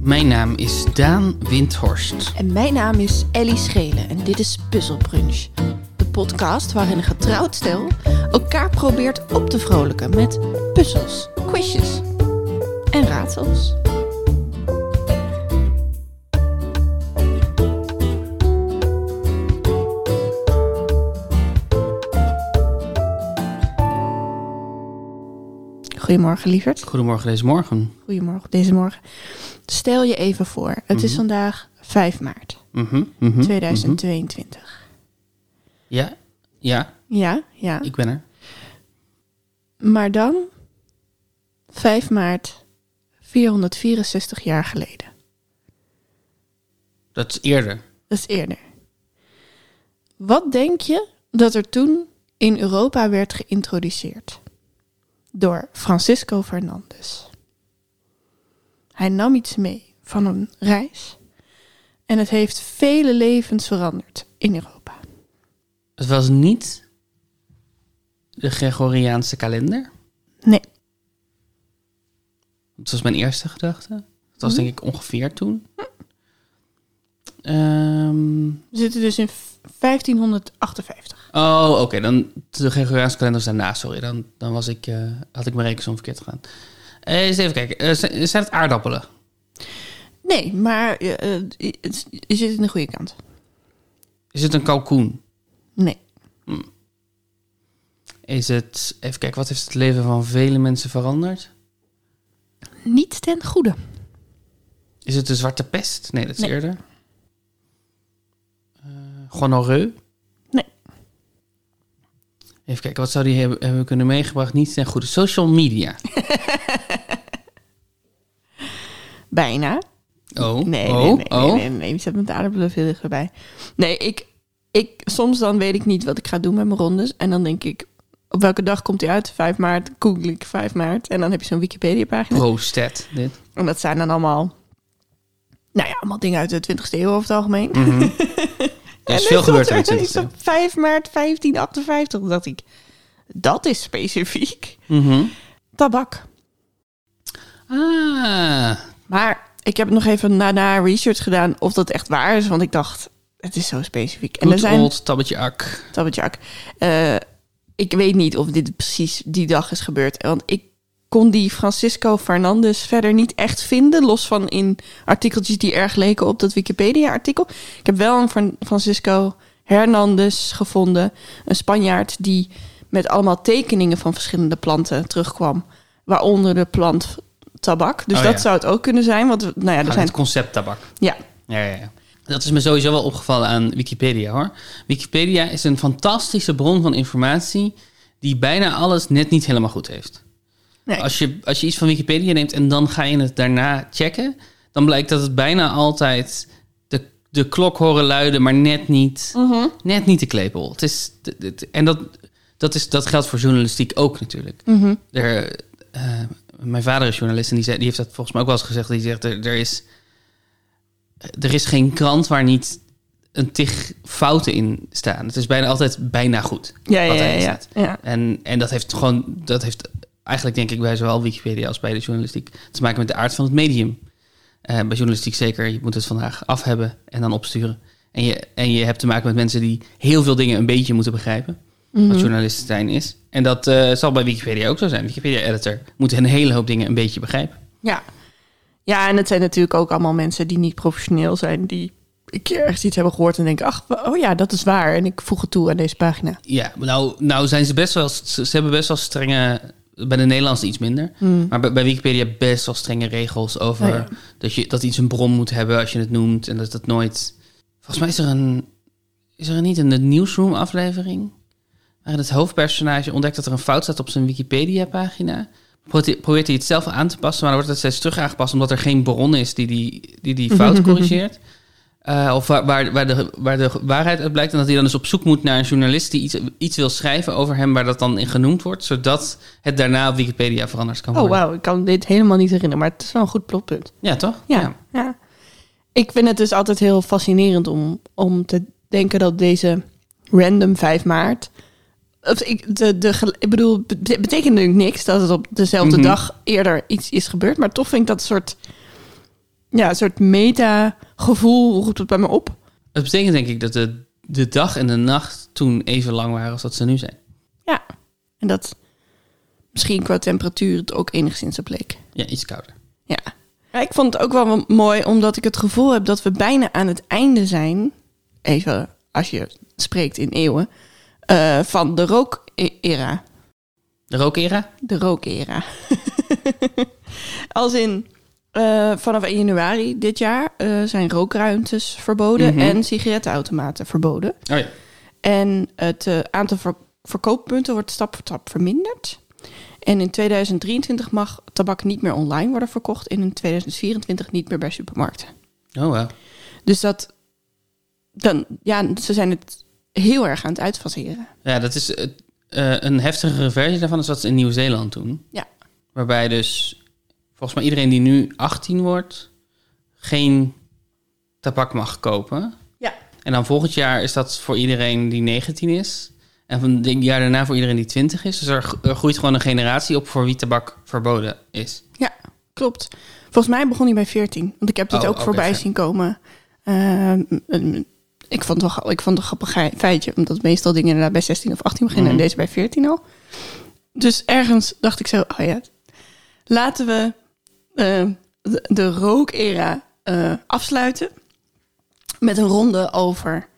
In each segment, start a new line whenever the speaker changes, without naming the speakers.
Mijn naam is Daan Windhorst.
En mijn naam is Ellie Schelen en dit is Puzzle Brunch. De podcast waarin een getrouwd stel elkaar probeert op te vrolijken met puzzels, quizjes en raadsels. Goedemorgen, lieverd.
Goedemorgen deze morgen.
Goedemorgen deze morgen. Stel je even voor, het is vandaag 5 maart
Mhm, mhm.
2022.
Ja, ja,
Ja, ja.
mhm. ik ben er.
Maar dan 5 maart 464 jaar geleden.
Dat is eerder.
Dat is eerder. Wat denk je dat er toen in Europa werd geïntroduceerd? Door Francisco Fernandez. Hij nam iets mee van een reis en het heeft vele levens veranderd in Europa.
Het was niet de Gregoriaanse kalender.
Nee,
Dat was mijn eerste gedachte. Dat was denk ik ongeveer toen. Ehm,
we zitten dus in 1558.
oh, oké. dan de Gregoriaanse kalender was daarna. Sorry, dan, dan was ik, eh, had ik mijn rekensom verkeerd gedaan. Eh, eens even kijken. Eh, zijn zijn het aardappelen?
Nee, maar eh, eh, het- je zit in de goede kant.
Is het een kalkoen?
Nee.
Is het, even kijken, wat heeft het leven van vele mensen veranderd?
Niet ten goede.
Is het de zwarte pest? Nee, dat is
Nee.
eerder. Eh gonorreu?
Nee.
Even kijken, wat zou die hebben, hebben kunnen meegebracht? Niet ten goede. Social media.
Bijna.
Oh,
Nee,
oh,
nee, nee,
oh.
nee, nee, nee. Je zet met de aardappelen veel dichterbij. Nee, ik, ik, soms dan weet ik niet wat ik ga doen met mijn rondes. En dan denk ik, op welke dag komt die uit? 5 maart, google ik 5 maart. En dan heb je zo'n Wikipedia-pagina.
Prostet, dit.
En dat zijn dan allemaal, nou ja, allemaal dingen uit de 20e eeuw over het algemeen.
Mhm. Er is
En
veel
dan
gebeurd in
stond
de
er iets
20e eeuw.
op 5 maart 1558 dacht ik, dat is specifiek.
Mhm.
Tabak.
Ah,
Maar ik heb nog even na, na research gedaan of dat echt waar is. Want ik dacht, het is zo specifiek.
good old tabbetje ak.
Tabbetjak. Eh ik weet niet of dit precies die dag is gebeurd. Want ik kon die Francisco Fernandez verder niet echt vinden. Los van in artikeltjes die erg leken op dat Wikipedia-artikel. Ik heb wel een Fran- Francisco Hernandez gevonden. Een Spanjaard die met allemaal tekeningen van verschillende planten terugkwam. Waaronder de plant tabak. Dus
Oh
dat
ja.
zou het ook kunnen zijn. Want nou ja, er
Ah,
zijn...
het concept tabak.
Ja,
Ja, ja, ja. Dat is me sowieso wel opgevallen aan Wikipedia hoor. Wikipedia is een fantastische bron van informatie die bijna alles net niet helemaal goed heeft.
nee,
Als, je, als je iets van Wikipedia neemt en dan ga je het daarna checken, dan blijkt dat het bijna altijd de, de klok horen luiden, maar net niet, net niet de klepel. Het is, het- het- en dat, dat, is, dat geldt voor journalistiek ook natuurlijk. Er, eh, mijn vader is journalist en die, zei, die heeft dat volgens mij ook wel eens gezegd. Die zegt, er, er, is, er is geen krant waar niet een tig fouten in staan. Het is bijna altijd bijna goed
ja, ja,
wat
ja,
erin
ja,
staat.
ja.
En, en dat heeft gewoon, dat heeft eigenlijk denk ik bij zowel Wikipedia als bij de journalistiek te maken met de aard van het medium. Eh, bij journalistiek zeker, je moet het vandaag af hebben en dan opsturen. En je, en je hebt te maken met mensen die heel veel dingen een beetje moeten begrijpen.
Mhm.
Wat journalisten zijn is. En dat eh, zal bij Wikipedia ook zo zijn. Wikipedia-editor moet een hele hoop dingen een beetje begrijpen.
Ja. Ja, en het zijn natuurlijk ook allemaal mensen die niet professioneel zijn, die een keer ergens iets hebben gehoord en denken, ach, wa- oh ja, dat is waar. En ik voeg het toe aan deze pagina.
Ja, nou, nou zijn ze best wel, ze ze hebben best wel strenge, bij de Nederlandse iets minder, maar bij, bij Wikipedia best wel strenge regels over
Mm. Oh ja.
dat, je, dat iets een bron moet hebben als je het noemt en dat dat nooit. Volgens mij is er een, is er niet een newsroom aflevering waarin het hoofdpersonage ontdekt dat er een fout staat op zijn Wikipedia pagina. Probeert, probeert hij het zelf aan te passen, maar dan wordt het steeds terug aangepast omdat er geen bron is die die, die, die fout corrigeert. Eh, of waar, waar, waar, de, waar de waarheid uit blijkt. En dat hij dan dus op zoek moet naar een journalist die iets, iets wil schrijven over hem, waar dat dan in genoemd wordt. Zodat het daarna op Wikipedia veranderd kan
Oh
worden.
wauw, ik kan dit helemaal niet herinneren, maar het is wel een goed plotpunt.
Ja, toch?
Ja, ja. Ik vind het dus altijd heel fascinerend om, om te denken dat deze random 5 maart... Of ik, de, de, gel- ik bedoel, het bet- betekent natuurlijk niks dat het op dezelfde
Mhm.
dag eerder iets is gebeurd. Maar toch vind ik dat soort ja, een soort meta-gevoel roept het bij me op.
Dat betekent denk ik dat de, de dag en de nacht toen even lang waren als dat ze nu zijn.
Ja. En dat misschien qua temperatuur het ook enigszins op leek.
Ja, iets kouder.
Ja. Maar ik vond het ook wel mooi, omdat ik het gevoel heb dat we bijna aan het einde zijn. Even als je spreekt in eeuwen. eh, van de rook-era.
De rookera?
De rook-era. als in. eh, vanaf 1 januari dit jaar eh, zijn rookruimtes verboden
Mhm.
en sigarettenautomaten verboden.
Oh ja.
En het eh, aantal ver- verkooppunten wordt stap voor stap verminderd. En in 2023 mag tabak niet meer online worden verkocht en in 2024 niet meer bij supermarkten.
Oh wow.
Dus dat, dan, ja, ze zijn het heel erg aan het uitfaseren.
Ja, dat is eh, eh, een heftigere versie daarvan is wat ze in Nieuw-Zeeland doen.
Ja.
Waarbij dus volgens mij iedereen die nu 18 wordt geen tabak mag kopen.
Ja.
En dan volgend jaar is dat voor iedereen die 19 is. En van het jaar daarna voor iedereen die 20 is. Dus er, gro- er groeit gewoon een generatie op voor wie tabak verboden is.
Ja, klopt. Volgens mij begon hij bij 14, want ik heb dit
Oh,
ook
oké,
voorbij
fair.
zien komen. Ehm, ehm, ik vond het wel ik vond het een grappig ge- feitje, omdat meestal dingen inderdaad bij 16 of 18 beginnen
Mhm.
en deze bij 14 al. Dus ergens dacht ik zo, oh ja, laten we ehm, de, de rookera eh, afsluiten met een ronde over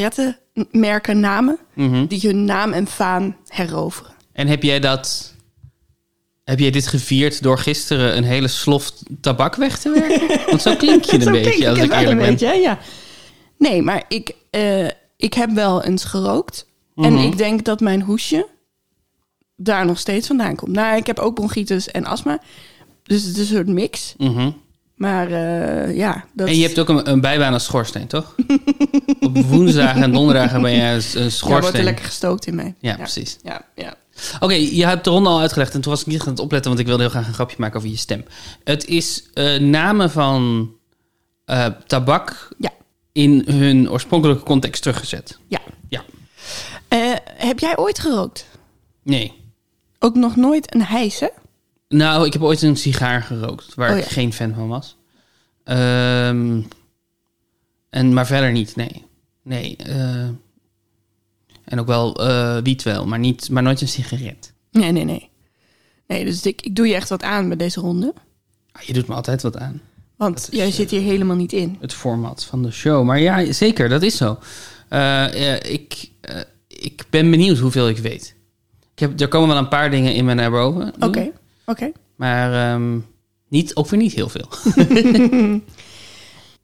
sigarettenmerken namen
Mhm.
die hun naam en faam heroveren.
En heb jij dat... Heb jij dit gevierd door gisteren een hele slof tabak weg te werken? Want zo klink je een
Zo klink
beetje, als
het
ik
wel
eerlijk
een
ben.
beetje, hè, ja. Nee, maar ik, eh, ik heb wel eens gerookt.
Mhm.
En ik denk dat mijn hoesje daar nog steeds vandaan komt. Nou, ik heb ook bronchitis en astma. Dus het is een soort mix.
Mhm.
Maar eh, ja, dat
En je hebt ook een, een bijbaan als schoorsteen, toch? Op woensdagen en donderdagen ben jij een, een
ja, wordt er
schoorsteen. Ja,
lekker gestookt in mij.
precies.
Ja, ja.
Oké, je hebt de ronde al uitgelegd en toen was ik niet gaan opletten, want ik wilde heel graag een grapje maken over je stem. Het is eh, namen van eh, tabak
Ja.
in hun oorspronkelijke context teruggezet.
ja.
Ja.
Eh, heb jij ooit gerookt?
Nee.
Ook nog nooit een hijs, hè?
Nou, ik heb ooit een sigaar gerookt, waar
Oh,
ik
ja.
geen fan van was. Ehm, en, maar verder niet, nee. Nee. eh, en ook wel eh wiet wel, maar, niet, maar nooit een sigaret.
Nee, nee, nee. Nee, dus ik, ik doe je echt wat aan bij deze ronde.
Ah, Je doet me altijd wat aan.
Want jij
eh,
zit hier helemaal niet in.
het format van de show. Maar ja, zeker, dat is zo. Eh, eh, ik, eh, ik ben benieuwd hoeveel ik weet. Ik heb, er komen wel een paar dingen in me naar boven. nu,
Oké, oké.
Maar ehm, niet, ook weer niet heel veel.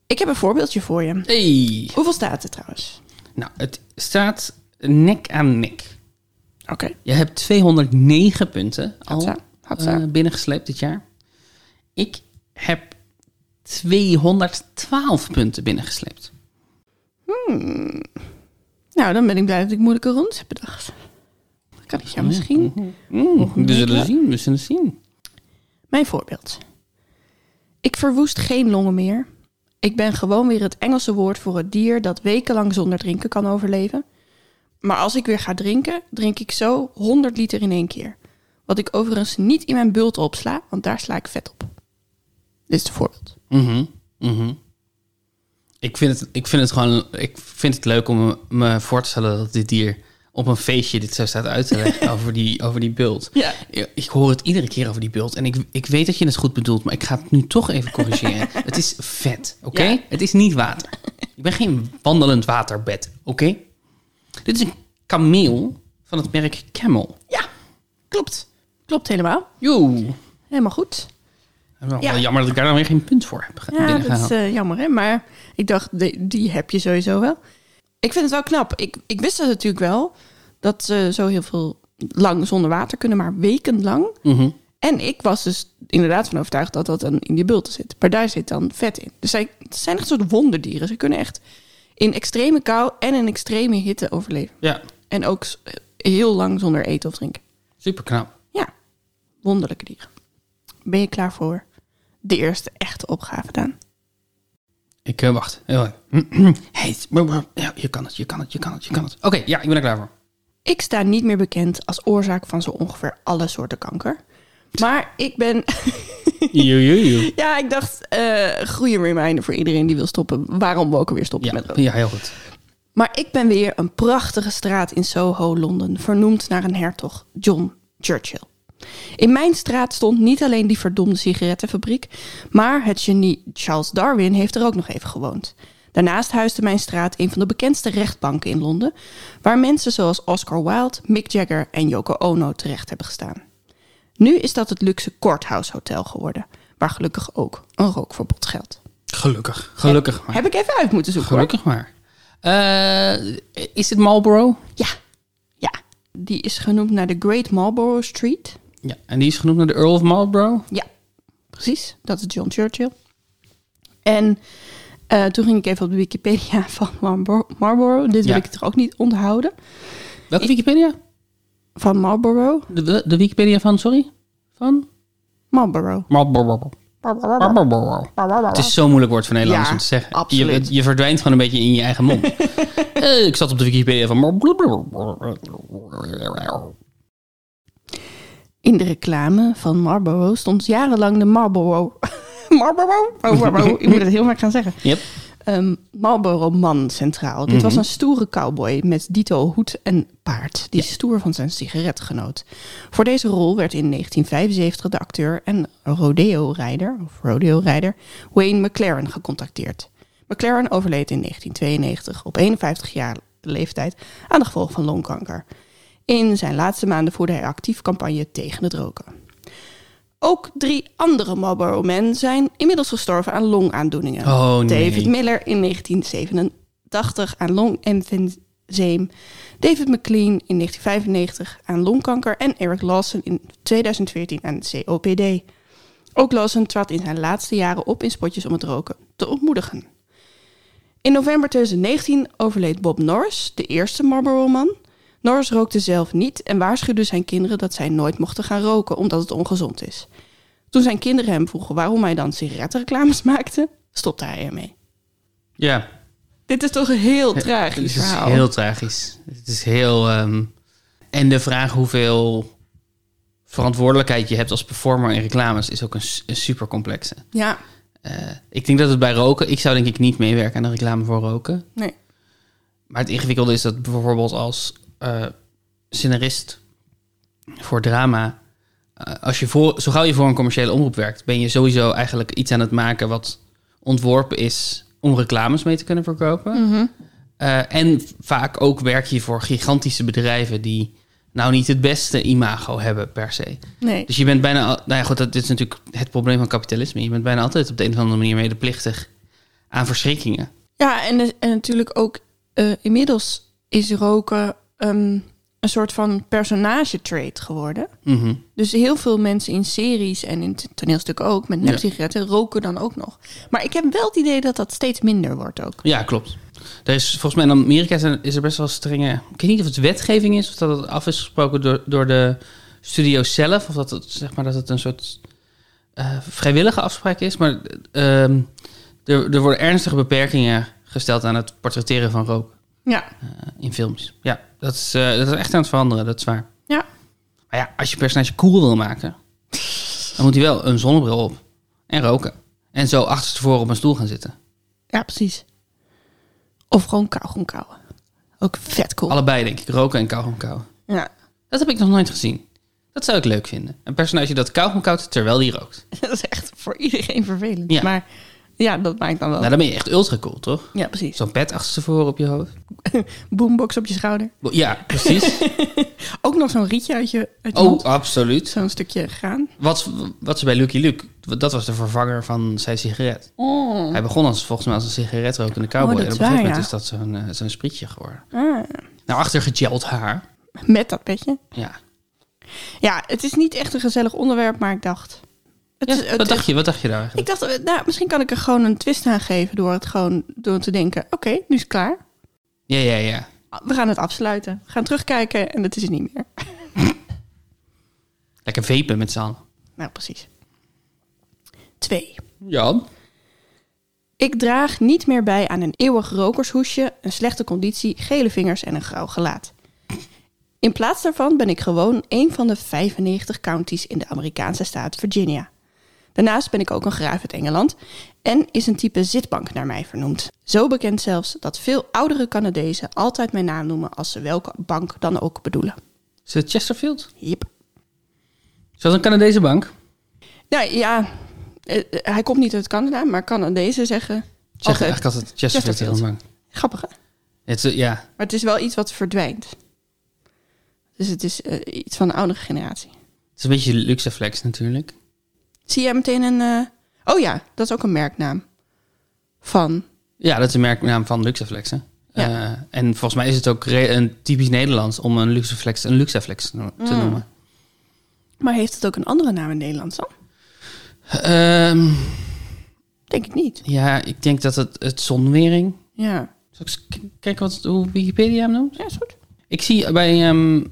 Ik heb een voorbeeldje voor je.
Hey.
Hoeveel staat er trouwens?
Nou, het staat nek aan nek.
Oké.
Je hebt 209 punten al
Hatsa, hatsa.
eh, binnengesleept dit jaar. Ik heb 212 punten binnengesleept.
Nou, dan ben ik blij dat ik moeilijke rondes heb bedacht. Dan kan ik jou misschien
Mm, we zullen zien, we zullen zien.
Mijn voorbeeld. Ik verwoest geen longen meer. Ik ben gewoon weer het Engelse woord voor het dier dat wekenlang zonder drinken kan overleven. Maar als ik weer ga drinken, drink ik zo 100 liter in één keer. Wat ik overigens niet in mijn bult opsla, want daar sla ik vet op. Dit is het voorbeeld.
Mhm, mhm. Ik, vind het, ik vind het gewoon ik vind het leuk om me- me voor te stellen dat dit dier op een feestje dit zo staat uit te leggen over, die, over die bult.
Ja.
Ik- Ik hoor het iedere keer over die bult en ik, ik weet dat je het goed bedoelt, maar ik ga het nu toch even corrigeren. het is vet, oké?
Ja.
Het is niet water. Ik ben geen wandelend waterbed, oké? Dit is een kameel van het merk Camel.
Ja, klopt. Klopt helemaal.
Joe.
Helemaal goed.
Wel
Ja.
Jammer dat ik daar dan weer geen punt voor heb ge-
Ja, dat
binnengehaald.
is eh, jammer, hè? Maar ik dacht, die, die heb je sowieso wel. Ik vind het wel knap. Ik, ik wist dat natuurlijk wel, dat ze zo heel veel lang zonder water kunnen, maar wekenlang.
Mhm.
En ik was dus inderdaad van overtuigd dat dat dan in die bulten zit. Maar daar zit dan vet in. Dus zij, het zijn echt soort wonderdieren. Ze kunnen echt in extreme kou en in extreme hitte overleven.
Ja,
En ook s- eh, heel lang zonder eten of drinken.
super knap.
Ja, wonderlijke dieren. Ben je klaar voor de eerste echte opgave, Daan?
Ik eh, wacht. Heel even. Heet. Ja, je kan het, je kan het, je kan het, je kan het. Oké, ja, ik ben er klaar voor.
Ik sta niet meer bekend als oorzaak van zo ongeveer alle soorten kanker. Maar ik ben...
Jojojo.
ja, ik dacht, eh goede reminder voor iedereen die wil stoppen. Waarom we ook alweer stoppen
Ja,
met roken.
ja, heel goed.
Maar ik ben weer een prachtige straat in Soho, Londen, vernoemd naar een hertog, John Churchill. In mijn straat stond niet alleen die verdomde sigarettenfabriek, maar het genie Charles Darwin heeft er ook nog even gewoond. Daarnaast huisde mijn straat een van de bekendste rechtbanken in Londen, waar mensen zoals Oscar Wilde, Mick Jagger en Yoko Ono terecht hebben gestaan. Nu is dat het luxe Courthouse Hotel geworden, waar gelukkig ook een rookverbod geldt.
Oh Gelukkig. Gelukkig maar.
Heb ik even uit moeten zoeken. hoor.
Gelukkig maar. Eh, is het Marlboro?
Ja, ja. Die is genoemd naar de Great Marlborough Street.
Ja. En die is genoemd naar de Earl of Marlboro?
Ja, precies. Dat is John Churchill. En eh, toen ging ik even op de Wikipedia van Marlboro- Marlboro. Dit
Ja.
wil ik toch ook niet onthouden.
Welke Wikipedia?
Van Marlboro.
De, de Wikipedia van, sorry? Van?
Marlboro. Dus
Marlboro. Marlboro. Het is zo'n moeilijk woord voor Nederlanders
Ja,
om te zeggen.
absoluut.
Je, je verdwijnt gewoon een beetje in je eigen mond. Eh, ik zat op de Wikipedia van Marlboro.
In de reclame van Marlboro stond jarenlang de Marlboro... Marlboro? Oh, Marlboro. Ik moet het heel vaak gaan zeggen.
Yep.
Ehm, Marlboro Man centraal. Dit was een stoere cowboy met dito hoed en paard... die stoer van zijn sigaret genoot. Voor deze rol werd in 1975 de acteur en rodeo-rijder... of rodeo-rijder Wayne McLaren gecontacteerd. McLaren overleed in 1992 op 51-jarige leeftijd... aan de gevolgen van longkanker. In zijn laatste maanden voerde hij actief campagne tegen het roken. Ook drie andere Marlboro Men zijn inmiddels gestorven aan longaandoeningen.
Oh, nee.
David Miller in 1987 aan longemfyseem. David McLean in 1995 aan longkanker. En Eric Lawson in 2014 aan COPD. Ook Lawson trad in zijn laatste jaren op in spotjes om het roken te ontmoedigen. In november 2019 overleed Bob Norris, de eerste Marlboro-man. Norris rookte zelf niet en waarschuwde zijn kinderen dat zij nooit mochten gaan roken omdat het ongezond is. Toen zijn kinderen hem vroegen waarom hij dan sigarettenreclames maakte, stopte hij ermee.
Ja,
Dit is toch een heel tragisch
het is
verhaal.
heel tragisch. Het is heel... ehm, en de vraag hoeveel verantwoordelijkheid je hebt als performer in reclames... is ook een, s- een super complexe.
Ja,
ik denk dat het bij roken... Ik zou denk ik niet meewerken aan een reclame voor roken.
nee.
Maar het ingewikkelde is dat bijvoorbeeld als eh scenarist voor drama, eh, als je voor, zo gauw je voor een commerciële omroep werkt, ben je sowieso eigenlijk iets aan het maken wat ontworpen is om reclames mee te kunnen verkopen. Eh, en vaak ook werk je voor gigantische bedrijven die nou niet het beste imago hebben per se.
nee.
Dus je bent bijna... al- Nou ja, goed, dat, dit is natuurlijk het probleem van kapitalisme. Je bent bijna altijd op de een of andere manier medeplichtig aan verschrikkingen.
Ja, en, en natuurlijk ook eh, inmiddels is roken ehm, een soort van personage-trait geworden.
Mhm.
Dus heel veel mensen in series en in t- toneelstukken ook, met
Ja.
nepsigaretten, roken dan ook nog. Maar ik heb wel het idee dat dat steeds minder wordt ook.
Ja, klopt. Er is, volgens mij in Amerika zijn, is er best wel strenge... Ik weet niet of het wetgeving is of dat het af is gesproken door, door de studio zelf. Of dat het, zeg maar, dat het een soort eh, vrijwillige afspraak is. Maar ehm, er, er worden ernstige beperkingen gesteld aan het portretteren van rook
Ja,
eh, in films. Ja, dat is, eh, dat is echt aan het veranderen, dat is waar.
ja.
Maar ja, als je personage cool wil maken, dan moet hij wel een zonnebril op en roken. En zo achterstevoren op een stoel gaan zitten.
ja precies. Of gewoon kou, gewoon kauwen. Ook vet cool.
Allebei denk ik, roken en kauwgom kauwen.
Ja,
Dat heb ik nog nooit gezien. Dat zou ik leuk vinden. Een personage dat kauwgom koudt terwijl die rookt.
dat is echt voor iedereen vervelend.
Ja.
Maar ja, dat maakt dan wel.
Nou, dan ben je echt ultra cool, toch?
Ja, precies.
Zo'n pet achterstevoren op je hoofd.
Boombox op je schouder.
Ja, precies.
Ook nog zo'n rietje uit je, uit je
oh,
mond.
absoluut.
Zo'n stukje graan.
Wat, wat ze bij Lucky Luke... Dat was de vervanger van zijn sigaret.
Oh.
Hij begon als, volgens mij als een sigaretrokende cowboy.
Oh, dat
en op een
is
gegeven
waar,
moment
ja.
is dat zo'n eh, zo'n sprietje geworden.
Ah.
Nou, achtergegeld haar.
Met dat petje.
Ja.
Ja, het is niet echt een gezellig onderwerp, maar ik dacht... Het,
Ja,
is- het-
wat, dacht je, wat dacht je daar
Ik
eigenlijk?
dacht, eh, nou, misschien kan ik er gewoon een twist aan geven door het gewoon door te denken, oké, nu is het klaar. Ah,
Ja, ja, ja.
We gaan het afsluiten. We gaan terugkijken en dat is het niet meer.
Lekker vapen met z'n allen.
Nou, precies. Twee.
Ja.
Ik draag niet meer bij aan een eeuwig rokershoesje, een slechte conditie, gele vingers en een grauw gelaat. In plaats daarvan ben ik gewoon een van de 95 counties in de Amerikaanse staat Virginia. Daarnaast ben ik ook een graaf uit Engeland en is een type zitbank naar mij vernoemd. Zo bekend zelfs dat veel oudere Canadezen altijd mijn naam noemen als ze welke bank dan ook bedoelen.
Is het Chesterfield?
Jip.
Is dat een Canadese bank?
Nou ja, eh, eh, hij komt niet uit Canada, maar Canadezen zeggen...
Zeg
altijd-
eigenlijk altijd Chesterfield.
Chesterfield.
heel lang.
Grappig hè?
Het, is- ja,
Maar het is wel iets wat verdwijnt. Dus het is eh, iets van de oudere generatie.
het is een beetje luxe flex natuurlijk.
Zie jij meteen een... eh, Oh ja, dat is ook een merknaam. Van...
Ja, dat is een merknaam van Luxaflex. Hè?
Ja.
Eh, en volgens mij is het ook re- een typisch Nederlands om een Luxaflex een Luxaflex no- te
Mm.
noemen.
Maar heeft het ook een andere naam in Nederland dan?
Ehm,
Denk ik niet.
ja, ik denk dat het, het zonwering.
Ja.
Zal ik eens k- kijken wat, hoe Wikipedia hem noemt?
Ja, is goed.
Ik zie bij, ehm,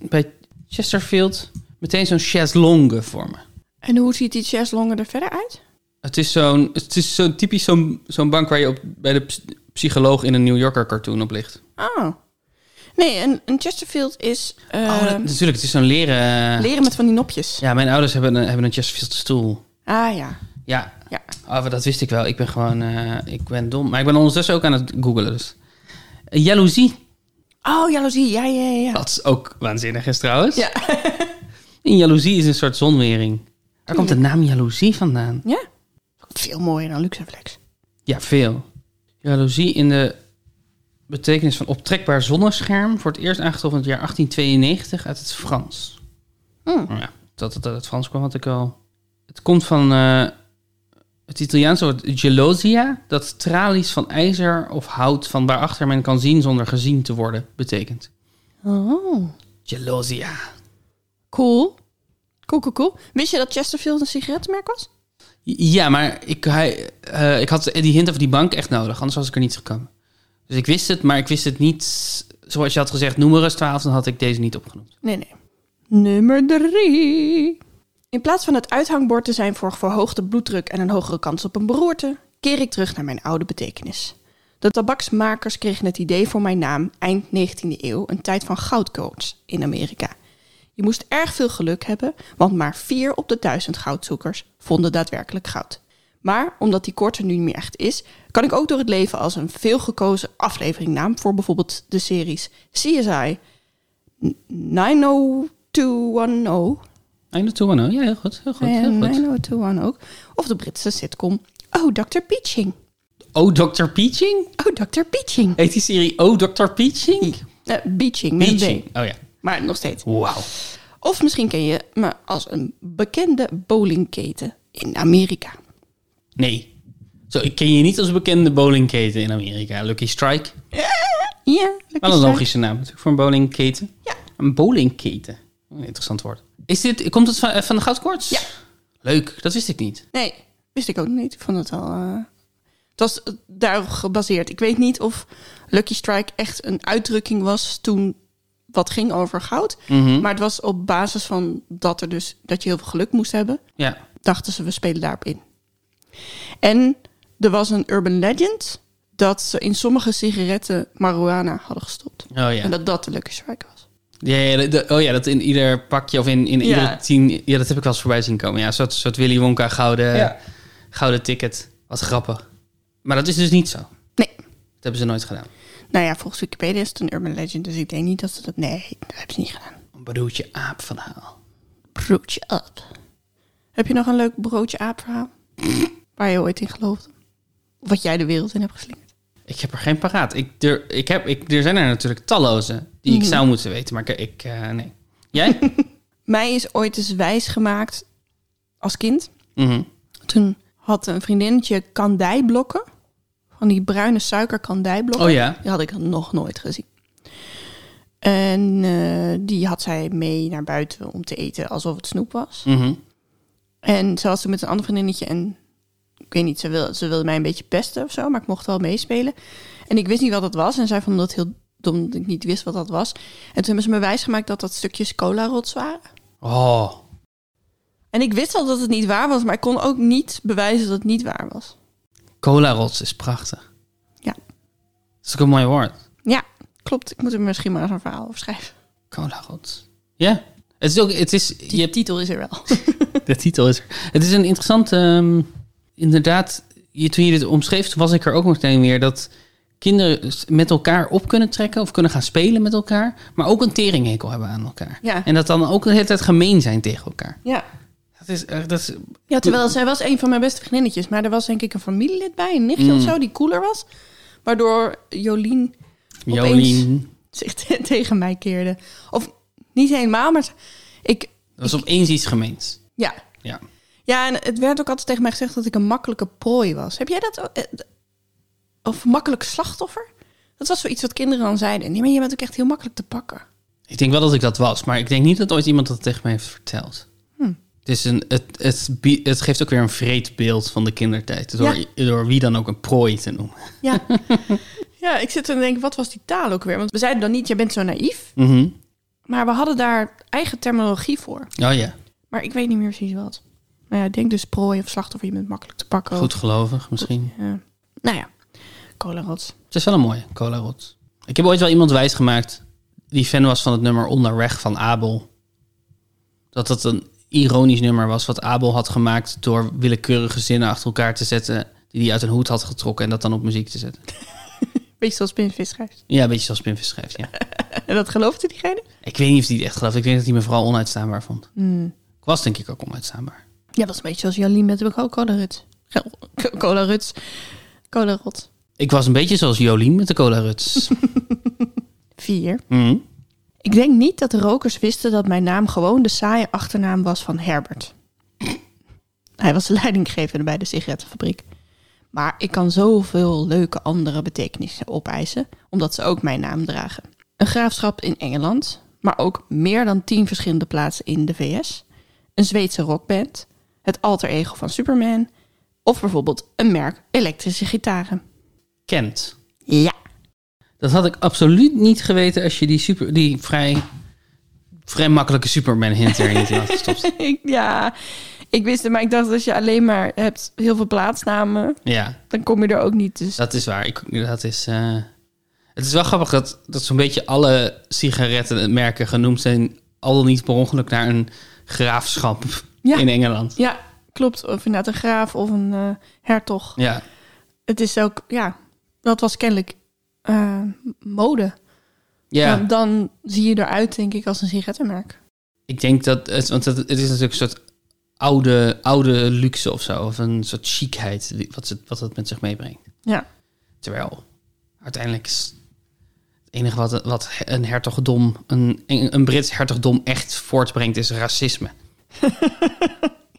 bij Chesterfield meteen zo'n chaiselongue voor me.
En hoe ziet die chaiselongen er verder uit?
Het is zo'n, het is zo'n typisch zo'n, zo'n bank waar je op, bij de ps- psycholoog in een New Yorker cartoon op ligt.
Oh. Nee, een, een Chesterfield is eh,
oh, dat- natuurlijk, het is zo'n leren...
leren met van die nopjes.
Ja, mijn ouders hebben een, hebben een Chesterfield stoel.
Ah ja.
Ja,
Ja.
oh, maar dat wist ik wel. Ik ben gewoon, eh, ik ben dom. Maar ik ben ondertussen ook aan het googelen dus. Eh, Jaloezie,
Oh, jaloezie. Ja, ja, ja. ja.
dat is ook waanzinnig is trouwens.
Ja.
En jaloezie is een soort zonwering. Waar komt de naam jaloezie vandaan?
ja. Veel mooier dan Luxaflex.
Ja, veel. Jaloezie in de betekenis van optrekbaar zonnescherm... voor het eerst aangetroffen in het jaar 1892 uit het Frans.
Hmm.
Nou Ja, dat het uit het Frans kwam had ik al. Het komt van eh, het Italiaanse woord gelosia... dat tralies van ijzer of hout van waarachter men kan zien zonder gezien te worden betekent.
Oh.
Gelosia.
Cool. Cool, cool, cool. Wist je dat Chesterfield een sigarettenmerk was?
Ja, maar ik, hij, eh, ik had die hint over die bank echt nodig, anders was ik er niet gekomen. Dus ik wist het, maar ik wist het niet. Zoals je had gezegd, noem er eens 12, dan had ik deze niet opgenoemd.
Nee, nee. Nummer drie. In plaats van het uithangbord te zijn voor verhoogde bloeddruk en een hogere kans op een beroerte, keer ik terug naar mijn oude betekenis. De tabaksmakers kregen het idee voor mijn naam eind 19e eeuw, een tijd van goudcoats in Amerika. Je moest erg veel geluk hebben, want maar vier op de duizend goudzoekers vonden daadwerkelijk goud. Maar omdat die korte nu niet meer echt is, kan ik ook door het leven als een veelgekozen afleveringnaam voor bijvoorbeeld de series CSI, 90210
90210, ja, heel goed, heel goed, heel
en
goed.
90210 ook. oh. Of de Britse sitcom Oh, Dr. Peaching.
Oh, Dr. Peaching?
Oh, Dr. Peaching.
Heet die serie Oh, Dr. Peaching?
Eh, Beaching, met een
Peaching,
B.
oh ja.
Maar nog steeds.
Wauw.
Of misschien ken je me als een bekende bowlingketen in Amerika.
Nee. Zo, ik ken je niet als bekende bowlingketen in Amerika. Lucky Strike.
Ja, lekker
Wel een
zo.
logische naam natuurlijk voor een bowlingketen.
Ja.
Een bowlingketen. Een interessant woord. Is dit, komt het van, eh, van de goudkoorts?
Ja.
Leuk, dat wist ik niet.
Nee, wist ik ook niet. Ik vond het al... eh, Het was eh, daarop gebaseerd. Ik weet niet of Lucky Strike echt een uitdrukking was toen wat ging over goud.
Mhm.
Maar het was op basis van dat, er dus, dat je heel veel geluk moest hebben,
Ja.
dachten ze we spelen daarop in. En er was een urban legend dat ze in sommige sigaretten marijuana hadden gestopt.
Oh ja.
En dat dat de Lucky Strike was.
Ja, ja, de- de- oh ja, dat in ieder pakje of in, in
Ja.
iedere tien... Ja, dat heb ik wel eens voorbij zien komen. Ja, een soort, soort Willy Wonka gouden,
Ja.
gouden ticket. Wat grappig. Maar dat is dus niet zo. Dat
Nee.
hebben ze nooit gedaan.
Nou ja, volgens Wikipedia is het een urban legend, dus ik denk niet dat ze dat... Nee, dat hebben ze niet gedaan.
Een broodje aap van haal.
Broodje aap. Heb je nog een leuk broodje aap verhaal? Waar je ooit in geloofde? Of Wat jij de wereld in hebt geslingerd?
Ik heb er geen paraat. Ik, er, ik heb, ik, er zijn er natuurlijk talloze die
Mhm.
ik zou moeten weten, maar ik... ik eh, nee. Jij?
Mij is ooit eens wijs gemaakt als kind.
Mhm.
Toen had een vriendinnetje kandijblokken. Van die bruine suikerkandijblokken.
Oh ja.
Die had ik nog nooit gezien. En eh, die had zij mee naar buiten om te eten alsof het snoep was.
Mhm.
En ze was toen met een ander vriendinnetje en ik weet niet, ze wilde, ze wilde mij een beetje pesten of zo, maar ik mocht wel meespelen. En ik wist niet wat dat was en zij vond dat heel dom dat ik niet wist wat dat was. En toen hebben ze me wijsgemaakt dat dat stukjes cola-rots waren.
Oh.
En ik wist al dat het niet waar was, maar ik kon ook niet bewijzen dat het niet waar was.
Cola rots is prachtig.
Ja.
Dat is ook een mooi woord.
Ja, klopt. Ik moet er misschien maar eens een verhaal over schrijven.
Cola God. Ja. Het is ook, het is,
Die
je hebt,
titel is er wel.
de titel is er. Het is een interessante, ehm, inderdaad, je, toen je dit omschreef, toen was ik er ook meteen weer, dat kinderen s- met elkaar op kunnen trekken of kunnen gaan spelen met elkaar, maar ook een teringhekel hebben aan elkaar.
Ja.
En dat dan ook de hele tijd gemeen zijn tegen elkaar.
Ja.
Dat is, echt- dat is
Ja, terwijl zij was een van mijn beste vriendinnetjes. Maar er was denk ik een familielid bij, een nichtje
Mm.
of zo, die cooler was. Waardoor Jolien
Jolien.
zich te- tegen mij keerde. Of niet helemaal, maar ze- ik...
Dat was opeens iets gemeens.
Ja.
Ja.
Ja, en het werd ook altijd tegen mij gezegd dat ik een makkelijke prooi was. Heb jij dat... ook- eh, d- Of makkelijk slachtoffer? Dat was zoiets wat kinderen dan zeiden. Nee, maar je bent ook echt heel makkelijk te pakken.
Ik denk wel dat ik dat was, maar ik denk niet dat ooit iemand dat tegen mij heeft verteld. Het, is een, het, het, bie- het geeft ook weer een vreed beeld van de kindertijd. Door, door wie dan ook een prooi te noemen.
Ja. ja, ik zit er en denk, wat was die taal ook weer? Want we zeiden dan niet, je bent zo naïef.
Mhm.
Maar we hadden daar eigen terminologie voor.
Oh ja,
Maar ik weet niet meer precies wat. Nou ja, ik denk dus prooi of slachtoffer. Je bent makkelijk te pakken.
goed gelovig misschien.
Ja. nou ja, kolenrots.
Het is wel een mooie, Cola Rot. Ik heb ooit wel iemand wijsgemaakt die fan was van het nummer Onderweg van Abel. Dat dat een ironisch nummer was wat Abel had gemaakt door willekeurige zinnen achter elkaar te zetten die hij uit een hoed had getrokken en dat dan op muziek te zetten.
Beetje zoals Ben Visschrijft.
Ja, een beetje zoals Pim schrijft, ja.
En dat geloofde diegene?
Ik weet niet of die het echt gelooft. Ik denk dat hij me vooral onuitstaanbaar vond. Ik was denk ik ook onuitstaanbaar.
Ja, dat is een beetje zoals Jolien met de kolenruts. Kolenruts. Kolenrot.
Ik was een beetje zoals Jolien met de cola ruts.
Vier.
Mhm.
Ik denk niet dat de rokers wisten dat mijn naam gewoon de saaie achternaam was van Herbert. Hij was de leidinggevende bij de sigarettenfabriek. Maar ik kan zoveel leuke andere betekenissen opeisen, omdat ze ook mijn naam dragen. Een graafschap in Engeland, maar ook meer dan tien verschillende plaatsen in de VS. Een Zweedse rockband, het alter ego van Superman, of bijvoorbeeld een merk elektrische gitaren.
Kent.
Ja.
Dat had ik absoluut niet geweten als je die, super, die vrij, vrij makkelijke Superman hint er niet in had gestopt.
Ik- ja, ik wist het, maar ik dacht als je alleen maar hebt heel veel plaatsnamen,
Ja,
dan kom je er ook niet. Dus
dat is waar. Ik, dat is, eh, het is wel grappig dat, dat zo'n beetje alle sigarettenmerken genoemd zijn, al dan niet per ongeluk naar een graafschap
Ja.
in Engeland.
ja, klopt. Of inderdaad een graaf of een eh, hertog.
Ja,
Het is ook, ja, dat was kennelijk eh, mode.
ja.
Nou, dan zie je eruit, denk ik, als een sigarettenmerk.
Ik denk dat het, want het, het is natuurlijk een soort oude, oude luxe of zo. Of een soort chicheid die- wat, ze, wat dat met zich meebrengt.
Ja.
Terwijl uiteindelijk is het enige wat, wat een hertogdom, een, een Brits hertogdom echt voortbrengt, is racisme.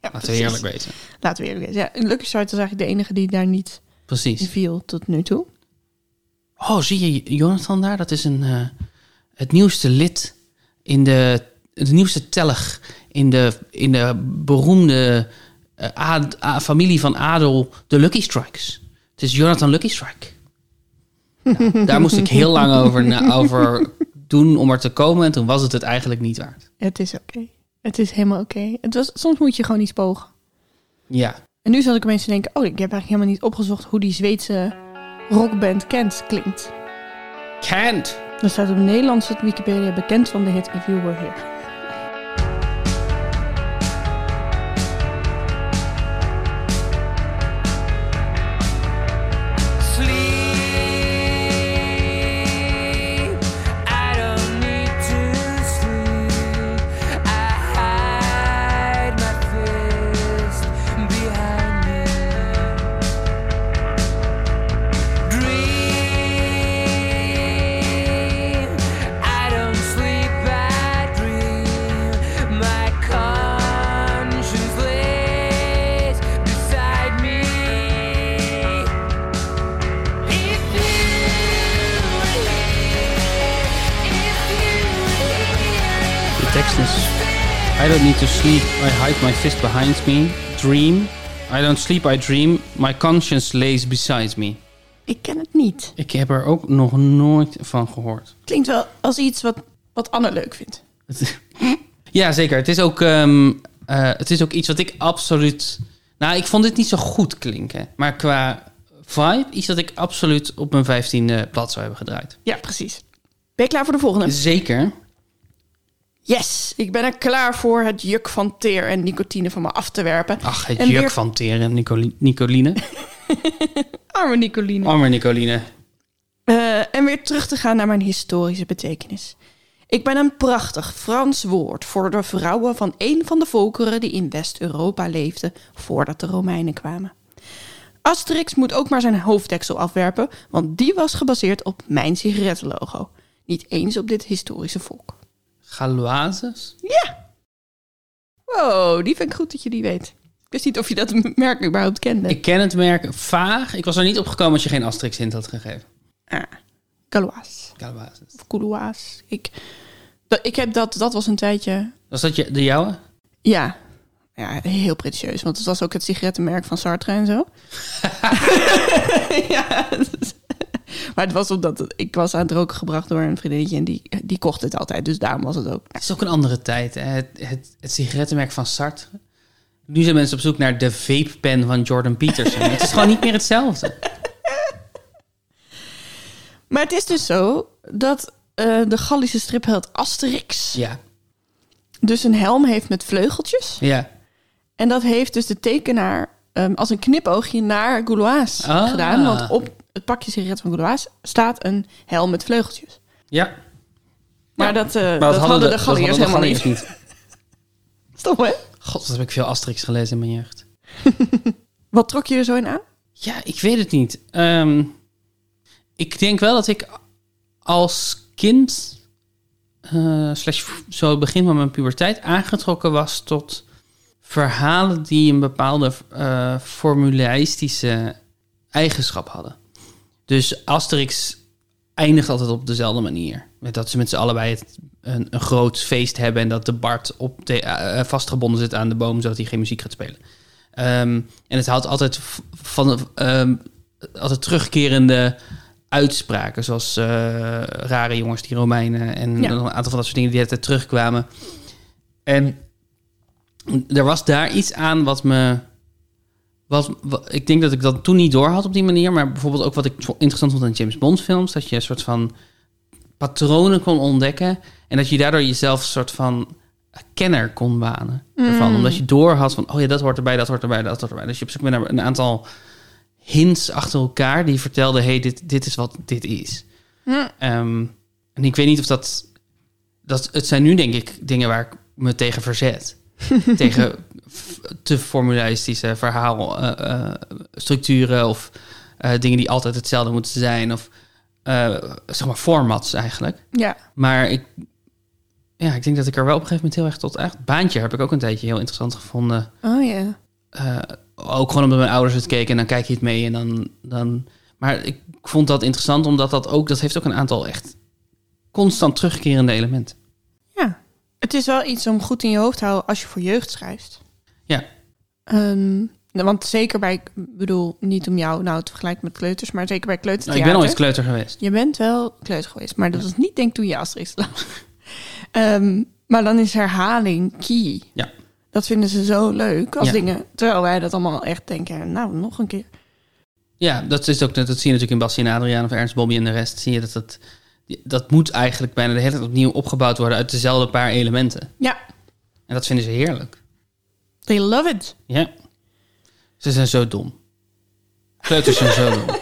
ja
Laten we eerlijk weten.
Laten we eerlijk zijn. Ja, Lucky Start is eigenlijk de enige die daar niet in
Precies.
viel tot nu toe.
Oh, zie je Jonathan daar? Dat is een, eh, het nieuwste lid in de... Het nieuwste telg in de, in de beroemde eh, ad- a- familie van Adel, de Lucky Strikes. Het is Jonathan Lucky Strike. Nou, daar moest ik heel lang over, na- over doen om er te komen. En toen was het het eigenlijk niet waard.
Het is oké. Het is helemaal oké. Het was Soms moet je gewoon iets pogen.
Ja,
En nu zat ik opeens te denken, oh, ik heb eigenlijk helemaal niet opgezocht hoe die Zweedse rockband Kent klinkt.
can't.
Er staat op Nederlands op Wikipedia bekend van de hit If You Were Here.
Sleep. I don't need to sleep. I hide my fist behind me. Dream. I don't sleep. I dream. My conscience lays beside me. If you
De tekst is... I don't need to sleep, I hide my fist behind me. Dream. I don't sleep, I dream. My conscience lays beside me.
Ik ken het niet.
Ik heb er ook nog nooit van gehoord.
Klinkt wel als iets wat, wat Anne leuk vindt.
Het- ja, zeker. Het is, ook, ehm, eh, het is ook iets wat ik absoluut... Nou, ik vond dit niet zo goed klinken. Maar qua vibe, iets dat ik absoluut op mijn vijftiende blad zou hebben gedraaid.
Ja, precies. Ben je klaar voor de volgende?
Zeker.
Yes, ik ben er klaar voor het juk van teer en nicotine van me af te werpen.
Ach, het
en
juk
weer-
van Teer en Nicoli- Nicoline.
Arme Nicoline.
Arme Nicoline.
Eh, en weer terug te gaan naar mijn historische betekenis. Ik ben een prachtig Frans woord voor de vrouwen van een van de volkeren die in West-Europa leefden voordat de Romeinen kwamen. Asterix moet ook maar zijn hoofddeksel afwerpen, want die was gebaseerd op mijn sigarettenlogo. Niet eens op dit historische volk.
Galoises?
Ja! Wow, die vind ik goed dat je die weet. Ik wist niet of je dat merk überhaupt kende.
Ik ken het merk vaag. Ik was er niet op gekomen als je geen Asterix hint had gegeven.
Ah, Galois.
Galoises.
Of Coulois. Ik, dat, ik heb dat, dat was een tijdje
Was dat je, de jouwe?
Ja. Ja, heel pretentieus. Want het was ook het sigarettenmerk van Sartre en zo. ja. dus- Maar het was omdat het- ik was aan het roken gebracht door een vriendinnetje en die, die kocht het altijd. Dus daarom was het ook.
Het is ook een andere tijd. Hè? Het, het, het sigarettenmerk van Sartre. Nu zijn mensen op zoek naar de vapepen van Jordan Peterson. het is gewoon niet meer hetzelfde.
Maar het is dus zo dat eh, de Gallische stripheld Asterix
Ja,
dus een helm heeft met vleugeltjes.
ja.
En dat heeft dus de tekenaar ehm, als een knipoogje naar Goulois
Ah.
gedaan. Want op het pakje sigaret van Goulois staat een helm met vleugeltjes.
ja.
Maar,
Ja.
dat, eh, dat, hadden de, Galliërs helemaal niet. Stom, hè?
God, dat heb ik veel Asterix gelezen in mijn jeugd.
Wat trok je er zo in aan?
Ja, ik weet het niet. Ehm, ik denk wel dat ik als kind, eh, slash v- zo het begin van mijn puberteit, aangetrokken was tot verhalen die een bepaalde eh formulaïstische eigenschap hadden. Dus Asterix eindigt altijd op dezelfde manier. Met dat ze met z'n allebei het, een, een groot feest hebben en dat de Bart op de, eh, eh, vastgebonden zit aan de boom, zodat hij geen muziek gaat spelen. Ehm, en het houdt altijd v- van ehm, altijd terugkerende uitspraken, zoals eh, rare jongens, die Romeinen en
Ja.
een aantal van dat soort dingen die altijd terugkwamen. En er was daar iets aan wat me. Wat, wa- ik denk dat ik dat toen niet door had op die manier. Maar bijvoorbeeld ook wat ik vo- interessant vond aan James Bond films. Dat je een soort van patronen kon ontdekken. En dat je daardoor jezelf een soort van kenner kon banen. Ervan. Omdat je door had van, oh ja, dat hoort erbij, dat hoort erbij, dat hoort erbij. Dus je op zoek bent naar een aantal hints achter elkaar die vertelden, hey, dit, dit is wat dit is. Ehm, en ik weet niet of dat, dat... Het zijn nu denk ik dingen waar ik me tegen verzet. tegen f- te formulaïstische verhaalstructuren eh, of eh, dingen die altijd hetzelfde moeten zijn. Of eh, zeg maar formats eigenlijk.
Ja.
Maar ik, ja, ik denk dat ik er wel op een gegeven moment heel erg tot echt. Baantje heb ik ook een tijdje heel interessant gevonden.
Oh ja.
Eh, ook gewoon omdat mijn ouders het keken en dan kijk je het mee en dan, dan. Maar ik vond dat interessant omdat dat ook. Dat heeft ook een aantal echt constant terugkerende elementen.
Ja. Het is wel iets om goed in je hoofd te houden als je voor jeugd schrijft.
Ja,
Ehm, nou, want zeker bij, ik bedoel, niet om jou nou te vergelijken met kleuters, maar zeker bij
nou, ik
kleutertheater.
ben ooit kleuter geweest.
Je bent wel kleuter geweest, maar dat was niet denk ik toen je Asterix las. Ehm, maar dan is herhaling key.
Ja.
Dat vinden ze zo leuk als
Ja.
dingen. Terwijl wij dat allemaal echt denken, nou, nog een keer.
Ja, dat, is ook, dat zie je natuurlijk in Bassie en Adriaan of Ernst Bobby en de rest. Zie je dat dat, dat moet eigenlijk bijna de hele tijd opnieuw opgebouwd worden uit dezelfde paar elementen.
Ja,
En dat vinden ze heerlijk.
they love it.
Ja. Ze zijn zo dom. Kleuters zijn zo dom.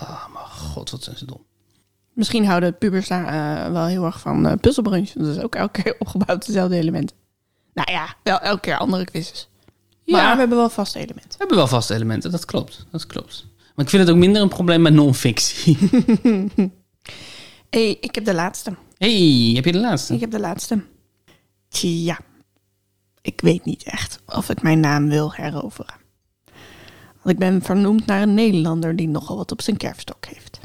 Oh, mijn god, wat zijn ze dom.
Misschien houden pubers daar eh, wel heel erg van eh puzzelbrunch. Dat is ook elke keer opgebouwd dezelfde elementen. Nou ja, wel elke keer andere quizzes. Maar
Ja.
we hebben wel vaste elementen.
We hebben wel vaste elementen, dat klopt. Dat klopt. Maar ik vind het ook minder een probleem met non-fictie.
hey, ik heb de laatste.
hey, heb je de laatste?
Ik heb de laatste. Tja. Ik weet niet echt of ik mijn naam wil heroveren. Want ik ben vernoemd naar een Nederlander die nogal wat op zijn kerfstok heeft.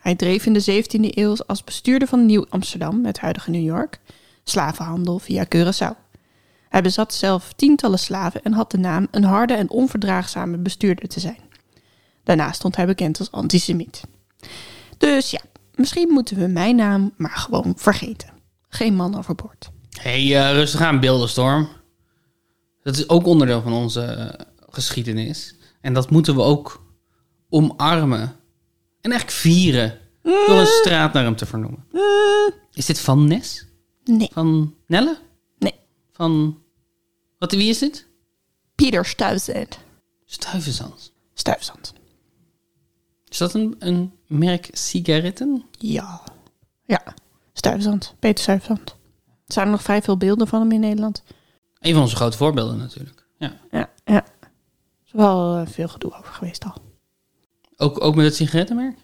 Hij dreef in de 17e eeuw als bestuurder van Nieuw Amsterdam, het huidige New York, slavenhandel via Curaçao. Hij bezat zelf tientallen slaven en had de naam een harde en onverdraagzame bestuurder te zijn. Daarna stond hij bekend als antisemiet. Dus ja, misschien moeten we mijn naam maar gewoon vergeten. Geen man overboord.
hey, eh, rustig aan, Beeldenstorm. Dat is ook onderdeel van onze eh, geschiedenis. En dat moeten we ook omarmen. En echt vieren. Door een straat naar hem te vernoemen. Is dit Van Nes?
Nee.
Van Nelle?
Nee.
Van... Wat, wie is dit?
Pieter Stuyvesant.
Stuyvesant.
Stuyvesant.
Is dat een, een merk sigaretten?
Ja. Ja. Stuyvesant. Peter Stuyvesant. Er zijn er nog vrij veel beelden van hem in Nederland.
Een van onze grote voorbeelden natuurlijk. Ja.
Ja. ja. Er is wel eh, veel gedoe over geweest al.
Ook, ook met het sigarettenmerk?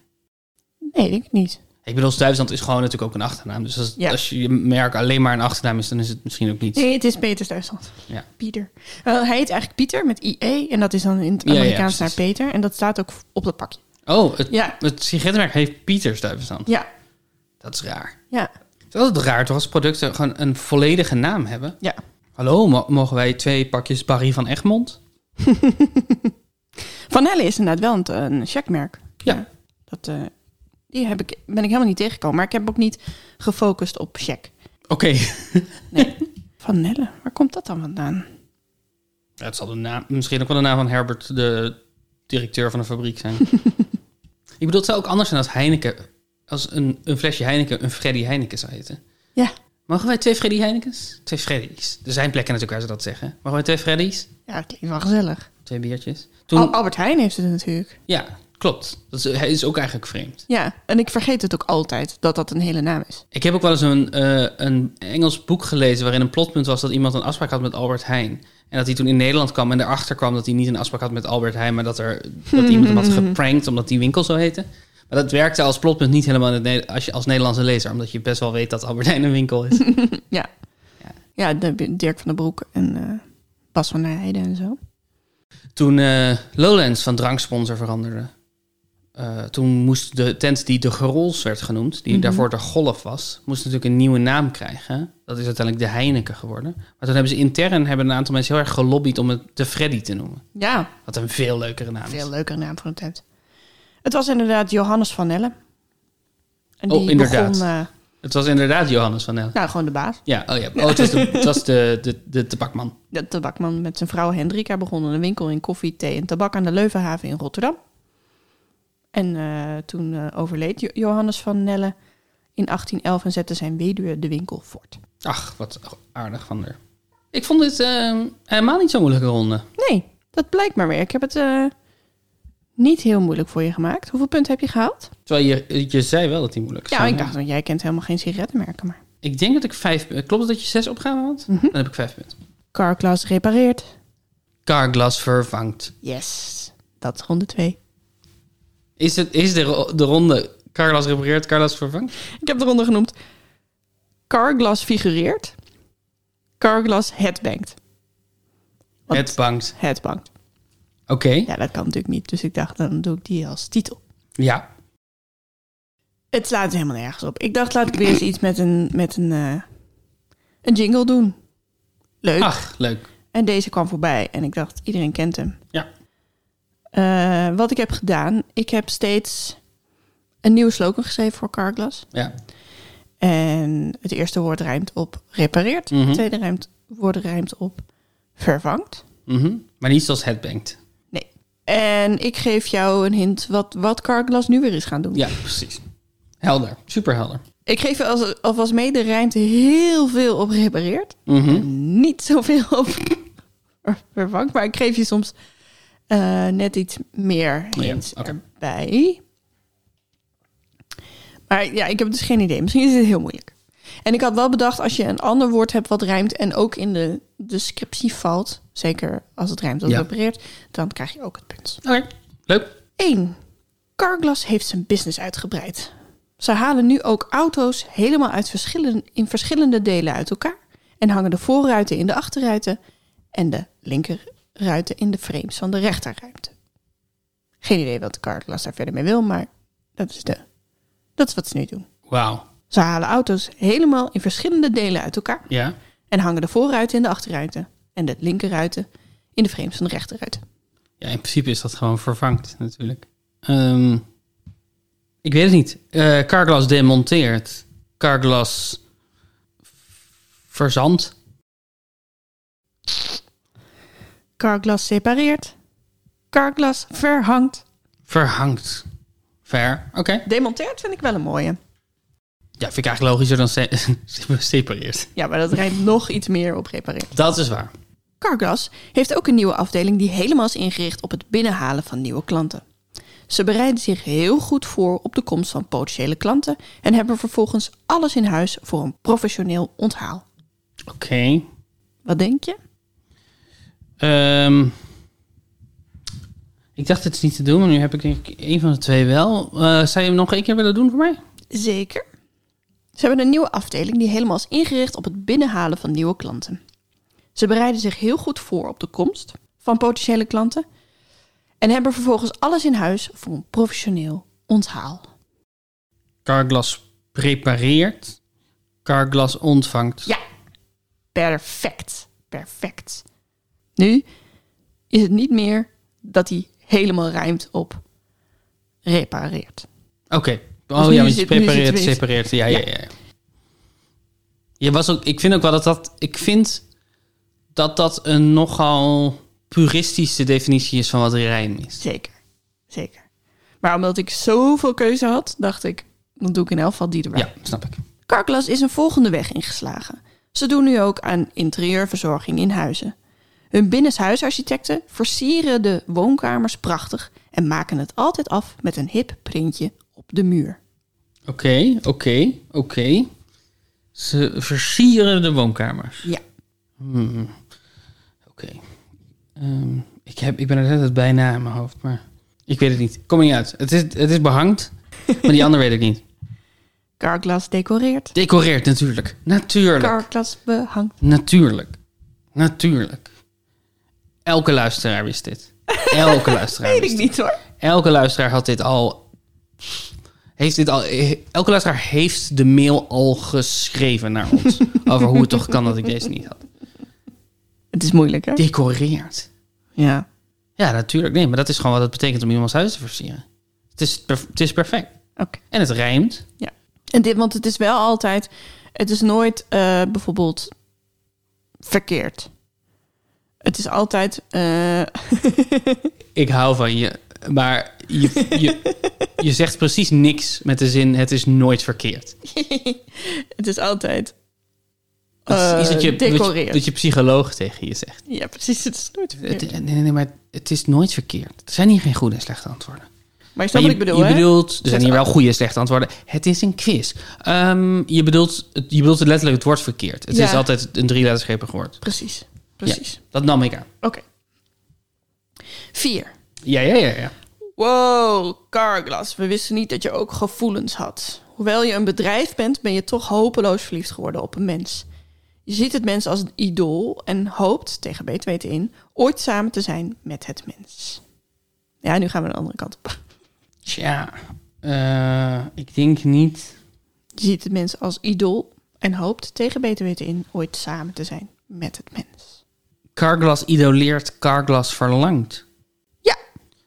Nee, denk ik niet.
Ik bedoel, Stuyvesant is gewoon natuurlijk ook een achternaam. Dus als,
Ja.
als je je merk alleen maar een achternaam is, dan is het misschien ook niet.
Nee, het is Peter Stuyvesant.
Ja.
Pieter. Eh, hij heet eigenlijk Pieter met IE. En dat is dan in het
Ja, ja,
Amerikaans naar
precies.
Peter. En dat staat ook op dat pakje.
Oh, het,
Ja.
het sigarettenmerk heeft Pieter Stuyvesant.
Ja.
Dat is raar.
Ja.
Het is altijd raar toch als producten gewoon een volledige naam hebben.
Ja.
Hallo, mo- mogen wij twee pakjes Barry van Egmond?
Van Nelle is inderdaad wel een, een checkmerk.
Ja.
Dat, eh, die heb ik, ben ik helemaal niet tegengekomen. Maar ik heb ook niet gefocust op check.
Oké.
Van Nelle, waar komt dat dan vandaan?
Ja, het zal de naam, misschien ook wel de naam van Herbert, de directeur van de fabriek zijn. Ik bedoel, het zou ook anders zijn als Heineken, als een, een flesje Heineken een Freddy Heineken zou heten.
Ja.
Mogen wij twee Freddy Heinekens? Twee Freddy's. Er zijn plekken natuurlijk waar ze dat zeggen. Mogen wij twee Freddy's?
Ja, dat klinkt wel gezellig.
Twee biertjes. Toen,
Al- Albert Heijn heeft het natuurlijk.
Ja, klopt. Dat is, hij is ook eigenlijk vreemd.
Ja, en ik vergeet het ook altijd dat dat een hele naam is.
Ik heb ook wel eens een, eh, een Engels boek gelezen waarin een plotpunt was dat iemand een afspraak had met Albert Heijn. En dat hij toen in Nederland kwam en erachter kwam dat hij niet een afspraak had met Albert Heijn, maar dat, er, dat iemand hem had geprankt omdat die winkel zo heette. Maar dat werkte als plotpunt niet helemaal in het Ne- als, je, als Nederlandse lezer, omdat je best wel weet dat Albert Heijn een winkel is.
Ja.
Ja.
Ja, de, Dirk van den Broek en eh, Bas van der Heijden en zo.
toen eh, Lowlands van dranksponsor veranderde, eh, toen moest de tent die de Gerols werd genoemd, die
Mhm.
daarvoor de Golf was, moest natuurlijk een nieuwe naam krijgen. Dat is uiteindelijk de Heineken geworden. Maar toen hebben ze intern hebben een aantal mensen heel erg gelobbyd om het de Freddy te noemen.
Ja,
Wat een veel leukere naam is.
veel leukere naam voor een tent. Het was inderdaad Johannes van Nelle. En
Oh, inderdaad.
begon, eh,
Het was inderdaad Johannes van Nel.
nou, gewoon de baas.
Ja, oh ja. Oh, het was de, het was de, de, de tabakman.
De tabakman met zijn vrouw Hendrika begon een winkel in koffie, thee en tabak aan de Leuvenhaven in Rotterdam. En eh, toen eh, overleed Jo- Johannes van Nelle in 1811 en zette zijn weduwe de winkel voort.
Ach, wat aardig van haar. Ik vond dit eh, helemaal niet zo'n moeilijke ronde.
Nee, dat blijkt maar weer. Ik heb het eh, niet heel moeilijk voor je gemaakt. Hoeveel punten heb je gehaald?
Terwijl je, je zei wel dat die moeilijk is.
Ja, ik dacht, want jij kent helemaal geen sigarettenmerken, maar...
Ik denk dat ik vijf... eh, Klopt het dat je zes opgaven had?
Mhm.
Dan heb ik vijf punten.
Carglass repareert.
Carglass vervangt.
Yes, dat is ronde twee.
Is, het, is de, ro- de ronde Carglass repareert, Carglass vervangt?
Ik heb de ronde genoemd. Carglass figureert. Carglass headbangt. Wat?
Het bankt.
Headbangt.
Oké, ja.
Ja, dat kan natuurlijk niet. Dus ik dacht, dan doe ik die als titel. Het slaat helemaal nergens op. Ik dacht, laat ik weer eens iets met een, met een, eh, een jingle doen. Leuk.
Ach, leuk.
En deze kwam voorbij en ik dacht, iedereen kent hem.
Ja.
Eh, wat ik heb gedaan, ik heb steeds een nieuwe slogan geschreven voor Carglass.
Ja.
En het eerste woord rijmt op repareert.
Mhm.
Het tweede rijmt, woord rijmt op vervangt.
Mhm. Maar niet zoals het bankt.
Nee. En ik geef jou een hint wat, wat Carglass nu weer is gaan doen.
Ja, precies. Helder. Super helder.
Ik geef je als, alvast mee, de rijmt heel veel op repareert.
Mhm.
Niet zoveel op vervangt, maar ik geef je soms eh, net iets meer
ja,
hints
oké.
erbij. Maar ja, ik heb dus geen idee. Misschien is het heel moeilijk. En ik had wel bedacht, als je een ander woord hebt wat rijmt en ook in de descriptie valt, zeker als het rijmt op
Ja.
repareert, dan krijg je ook het punt.
Oké, leuk.
1. Carglass heeft zijn business uitgebreid. Ze halen nu ook auto's helemaal uit verschillen, in verschillende delen uit elkaar en hangen de voorruiten in de achterruiten en de linkerruiten in de frames van de rechterruimte. Geen idee wat Carglass daar verder mee wil, maar dat is, de, dat is wat ze nu doen.
Wauw.
Ze halen auto's helemaal in verschillende delen uit elkaar
Ja.
en hangen de voorruiten in de achterruiten en de linkerruiten in de frames van de rechterruiten.
Ja, in principe is dat gewoon vervangt natuurlijk. Ehm, ik weet het niet. Eh Carglass demonteert. Carglass verzandt.
Carglass separeert. Carglass verhangt.
Verhangt. Ver. Oké.
Demonteert vind ik wel een mooie.
Ja, vind ik eigenlijk logischer dan se- separeert.
Ja, maar dat rijdt nog iets meer op repareren.
Dat is waar.
Carglass heeft ook een nieuwe afdeling die helemaal is ingericht op het binnenhalen van nieuwe klanten. Ze bereiden zich heel goed voor op de komst van potentiële klanten en hebben vervolgens alles in huis voor een professioneel onthaal.
Oké.
Wat denk je?
Ehm, ik dacht het is niet te doen, maar nu heb ik denk ik één van de twee wel. Eh, zou je hem nog één keer willen doen voor mij?
Zeker. Ze hebben een nieuwe afdeling die helemaal is ingericht op het binnenhalen van nieuwe klanten. Ze bereiden zich heel goed voor op de komst van potentiële klanten en hebben vervolgens alles in huis voor een professioneel onthaal.
Carglass prepareert, Carglass ontvangt.
Ja, perfect. Perfect. Nu is het niet meer dat hij helemaal rijmt op repareert.
Oké.
Dus
Oh
nu
ja, want
is
je
het- nu is het
prepareert,
weten.
separeert. Ja, ja, ja. ja. Je was ook, ik vind ook wel dat dat... Ik vind dat dat een nogal puristische definitie is van wat rijm is.
Zeker. Zeker. Maar omdat ik zoveel keuze had, dacht ik, dan doe ik in elk geval die erbij.
Ja, snap ik.
Carglass is een volgende weg ingeslagen. Ze doen nu ook aan interieurverzorging in huizen. Hun binnenshuisarchitecten versieren de woonkamers prachtig en maken het altijd af met een hip printje op de muur.
Oké, oké, oké. Ze versieren de woonkamers.
Ja.
Oké. Ehm, ik, heb, ik ben er net het bijna in mijn hoofd, maar... Ik weet het niet. Kom er niet uit. Het is, het is behangd, maar die ander weet ik niet.
Carglass decoreert.
Decoreert natuurlijk. Natuurlijk.
Carglass behangt.
Natuurlijk. Natuurlijk. Elke luisteraar wist dit. Elke luisteraar
Weet
wist
ik
dit.
niet hoor.
Elke luisteraar had dit al... Heeft dit al elke luisteraar heeft de mail al geschreven naar ons. over hoe het toch kan dat ik deze niet had.
Het is moeilijk hè?
Decoreert.
Ja.
Ja, natuurlijk. Nee, maar dat is gewoon wat het betekent om iemands huis te versieren. Het is, perf- het is perfect.
Oké.
En het rijmt.
Ja. En dit, want het is wel altijd, het is nooit eh, bijvoorbeeld verkeerd. Het is altijd, eh,
Ik hou van je. Maar je, je, je zegt precies niks met de zin: het is nooit verkeerd.
het is altijd.
Dat is iets
eh,
dat je, dat je,
decoreert.
dat je psycholoog tegen je zegt.
Ja, precies. Het is nooit verkeerd.
Het, nee, nee, nee, maar het is nooit verkeerd. Er zijn hier geen goede en slechte antwoorden.
maar je snapt
Maar
wat ik bedoel,
je
hè?
bedoelt, er
Zet
zijn hier wel
af.
goede en slechte antwoorden. Het is een quiz. Ehm, je, bedoelt, het- je bedoelt letterlijk het woord verkeerd. Het
Ja.
is altijd een drieletterscheppig woord.
Precies. Precies.
Ja, dat nam ik aan.
Oké. Vier.
Ja, ja, ja, ja.
Wow, Carglass, we wisten niet dat je ook gevoelens had. Hoewel je een bedrijf bent, ben je toch hopeloos verliefd geworden op een mens. Je ziet het mens als een idool en hoopt, tegen beter weten in, ooit samen te zijn met het mens. Ja, nu gaan we de andere kant op.
Tja, eh, ik denk niet.
Je ziet het mens als idool en hoopt, tegen beter weten in, ooit samen te zijn met het mens.
Carglass idoleert, Carglass verlangt.
Ja,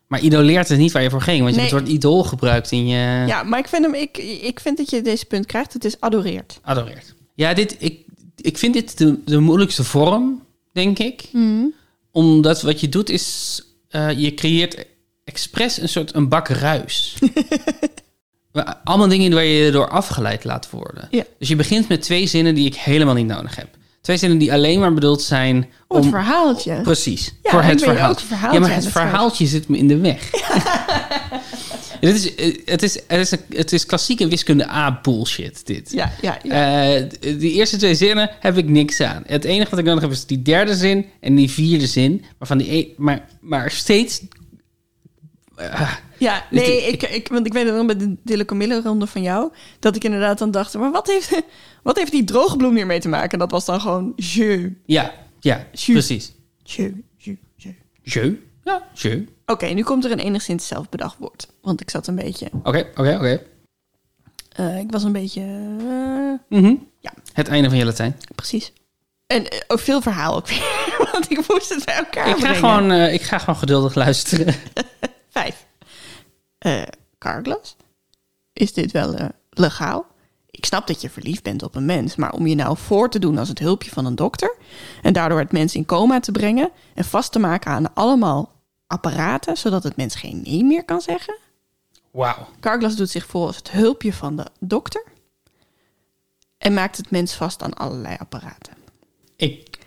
Maar idoleert is niet waar je voor ging, want je hebt
Nee.
het woord idool gebruikt in je...
ja maar ik vind, hem, ik, ik vind dat je deze punt krijgt. Het is adoreert.
Adoreert. Ja, dit, ik, ik vind dit de, de moeilijkste vorm, denk ik.
Hmm.
Omdat wat je doet is, eh, je creëert expres een soort een bak ruis. Waar- Allemaal dingen waar je door afgeleid laat worden.
Ja.
Dus je begint met twee zinnen die ik helemaal niet nodig heb. Twee zinnen die alleen maar bedoeld zijn
Oh, het
om...
verhaaltje.
Precies,
Ja,
voor
en
het
wil je
verhaal.
ook het verhaaltje
ja, maar
aan
het
het
verhaaltje zit me in de weg. Ja, dit is, eh, het, is, het, is een- het is klassieke wiskunde A bullshit, dit.
Ja, ja, ja.
Eh, d- die eerste twee zinnen heb ik niks aan. Het enige wat ik nodig heb is die derde zin en die vierde zin. Waarvan die e- maar, maar steeds. Ah,
Ja,
Dus
nee,
die-
ik, ik, want ik weet het nog bij de Dille Camille ronde van jou... dat ik inderdaad dan dacht, maar wat heeft, wat heeft die droge bloem hiermee te maken? Dat was dan gewoon je,
ja, ja,
Ju.
precies.
je, je, je.
Je? Ja, je.
Oké, nu komt er een enigszins zelfbedacht woord. Want ik zat een beetje...
Oké, oké, oké.
eh, ik was een beetje... eh,
Mhm.
Ja.
Het einde van je Latijn.
precies. En eh, ook veel verhaal ook weer. Want ik moest het bij elkaar
Ik ga,
brengen.
gewoon, eh, ik ga gewoon geduldig luisteren.
Vijf. Eh Carglass? Is dit wel eh, legaal? Ik snap dat je verliefd bent op een mens, maar om je nou voor te doen als het hulpje van een dokter en daardoor het mens in coma te brengen en vast te maken aan allemaal apparaten zodat het mens geen nee meer kan zeggen?
Wauw.
Carglass doet zich voor als het hulpje van de dokter. En maakt het mens vast aan allerlei apparaten.
Ik,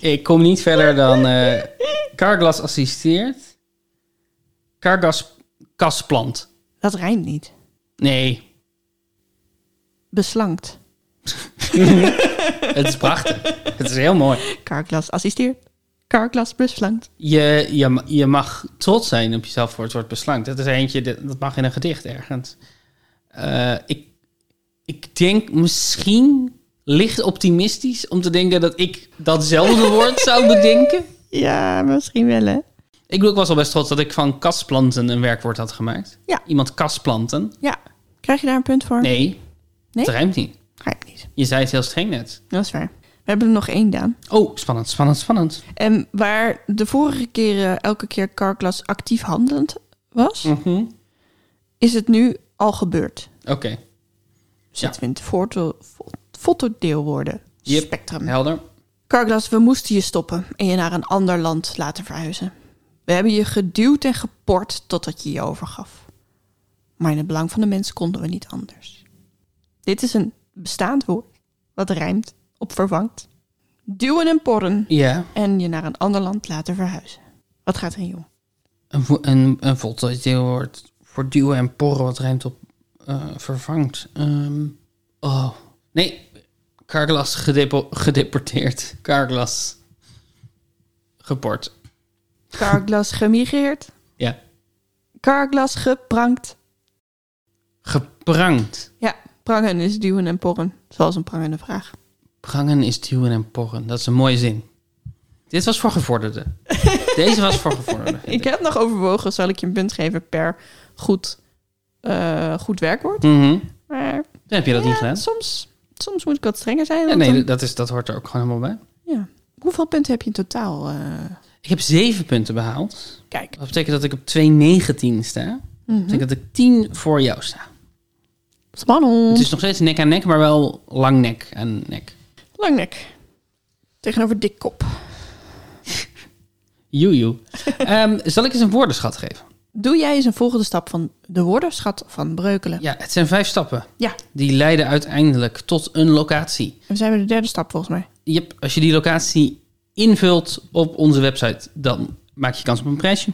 ik kom niet verder dan eh Carglass assisteert. Cargas kasplant.
Dat rijmt niet.
Nee,
Beslankt.
het is prachtig. het is heel mooi.
Karklas assisteert. Karklas beslankt.
Je, je, ma- je mag trots zijn op jezelf voor het woord beslankt. Dat is eentje, dat dat mag in een gedicht ergens. Eh, ik, ik denk misschien licht optimistisch om te denken dat ik datzelfde woord zou bedenken.
Ja, misschien wel hè.
Ik, bedoel, ik was al best trots dat ik van kasplanten een werkwoord had gemaakt.
Ja.
Iemand kasplanten.
Ja. Krijg je daar een punt voor?
Nee,
Nee?
dat ruimt niet.
Rijmt niet.
Je zei het heel streng net.
Dat is waar. We hebben er nog één, Daan.
Oh, spannend, spannend, spannend.
En waar de vorige keren elke keer Karklas actief handelend was,
Mhm.
is het nu al gebeurd.
Oké,
Zitten we in het foto, fo- fotodeelwoorden
Yep.
spectrum.
helder.
Carglass, we moesten je stoppen en je naar een ander land laten verhuizen. We hebben je geduwd en geport totdat je je overgaf. Maar in het belang van de mens konden we niet anders. Dit is een bestaand woord wat rijmt op vervangt. Duwen en porren
Ja,
en je naar een ander land laten verhuizen. Wat gaat erin om?
een, vo- een, een voltooid deelwoord voor duwen en porren wat rijmt op eh, vervangt. Ehm, oh, nee. Karglas gedepo- gedeporteerd. Karglas geport.
Carglass gemigreerd,
Ja.
Carglass geprankt.
Geprangt.
Ja, prangen is duwen en porren, zoals een prangende vraag.
Prangen is duwen en porren. Dat is een mooie zin. Dit was voor gevorderden. Deze was voor gevorderden. vind
Ik heb nog overwogen, zal ik je een punt geven per goed, eh, goed werkwoord.
Mhm.
Maar
Dan heb je dat
ja,
niet gedaan.
soms, soms moet ik wat strenger zijn.
Ja,
want
nee,
dan-
dat, is, dat hoort er ook gewoon helemaal bij.
ja. Hoeveel punten heb je in totaal? eh?
Ik heb zeven punten behaald.
kijk,
Dat betekent dat ik op 219 sta. Dat betekent dat ik 10 voor jou sta.
spannend.
Het is nog steeds nek aan nek, maar wel lang nek aan nek.
Langnek. Tegenover dikkop.
Joejoe. Ehm zal ik eens een woordenschat geven?
Doe jij eens een volgende stap van de woordenschat van Breukelen.
Ja, het zijn vijf stappen.
Ja.
Die leiden uiteindelijk tot een locatie.
En we zijn bij de derde stap volgens mij.
Jep, als je die locatie invult op onze website, dan maak je kans op een prijsje.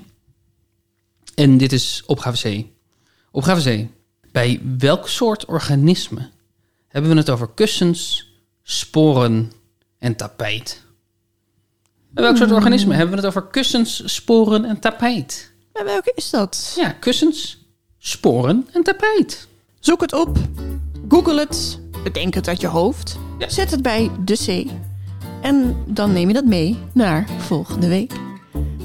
En dit is opgave C. Opgave C. Bij welk soort organisme hebben we het over kussens, sporen en tapijt? Bij welk soort organisme hebben we het over kussens, sporen en tapijt?
Maar welke is dat?
Ja, kussens, sporen en tapijt.
Zoek het op. Google het. Bedenk het uit je hoofd.
Ja.
Zet het bij de C. En dan neem je dat mee naar volgende week.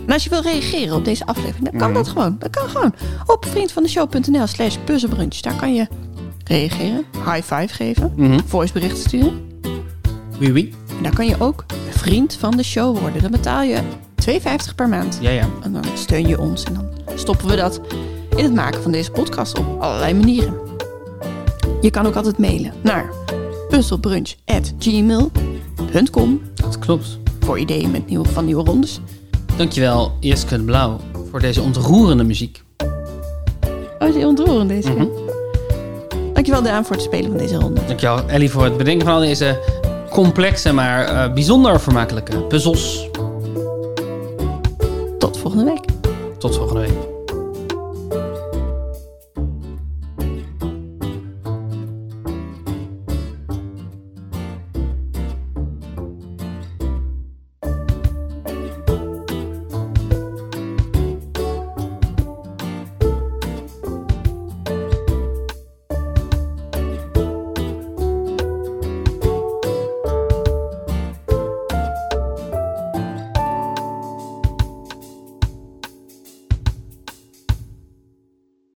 En als je wil reageren op deze aflevering, dan kan
Mhm.
dat gewoon. Dat kan gewoon. Op vriendvandeshow.nl slash puzzelbrunch. Daar kan je reageren, high five geven,
Mhm.
voiceberichten sturen.
Wie wie?
En daar kan je ook vriend van de show worden. Dan betaal je 2,50 per maand.
Ja, ja.
En dan steun je ons en dan stoppen we dat in het maken van deze podcast op allerlei manieren. Je kan ook altijd mailen naar puzzelbrunch.gmail.com
Dat klopt.
voor ideeën met nieuwe, van nieuwe rondes.
Dankjewel, Jeske de Blauw, voor deze ontroerende muziek.
Oh, is die ontroerend deze keer. Dankjewel Daan voor het spelen van deze ronde.
Dankjewel Ellie voor het bedenken van al deze complexe, maar eh, bijzonder vermakelijke puzzels.
Tot volgende week.
Tot volgende week.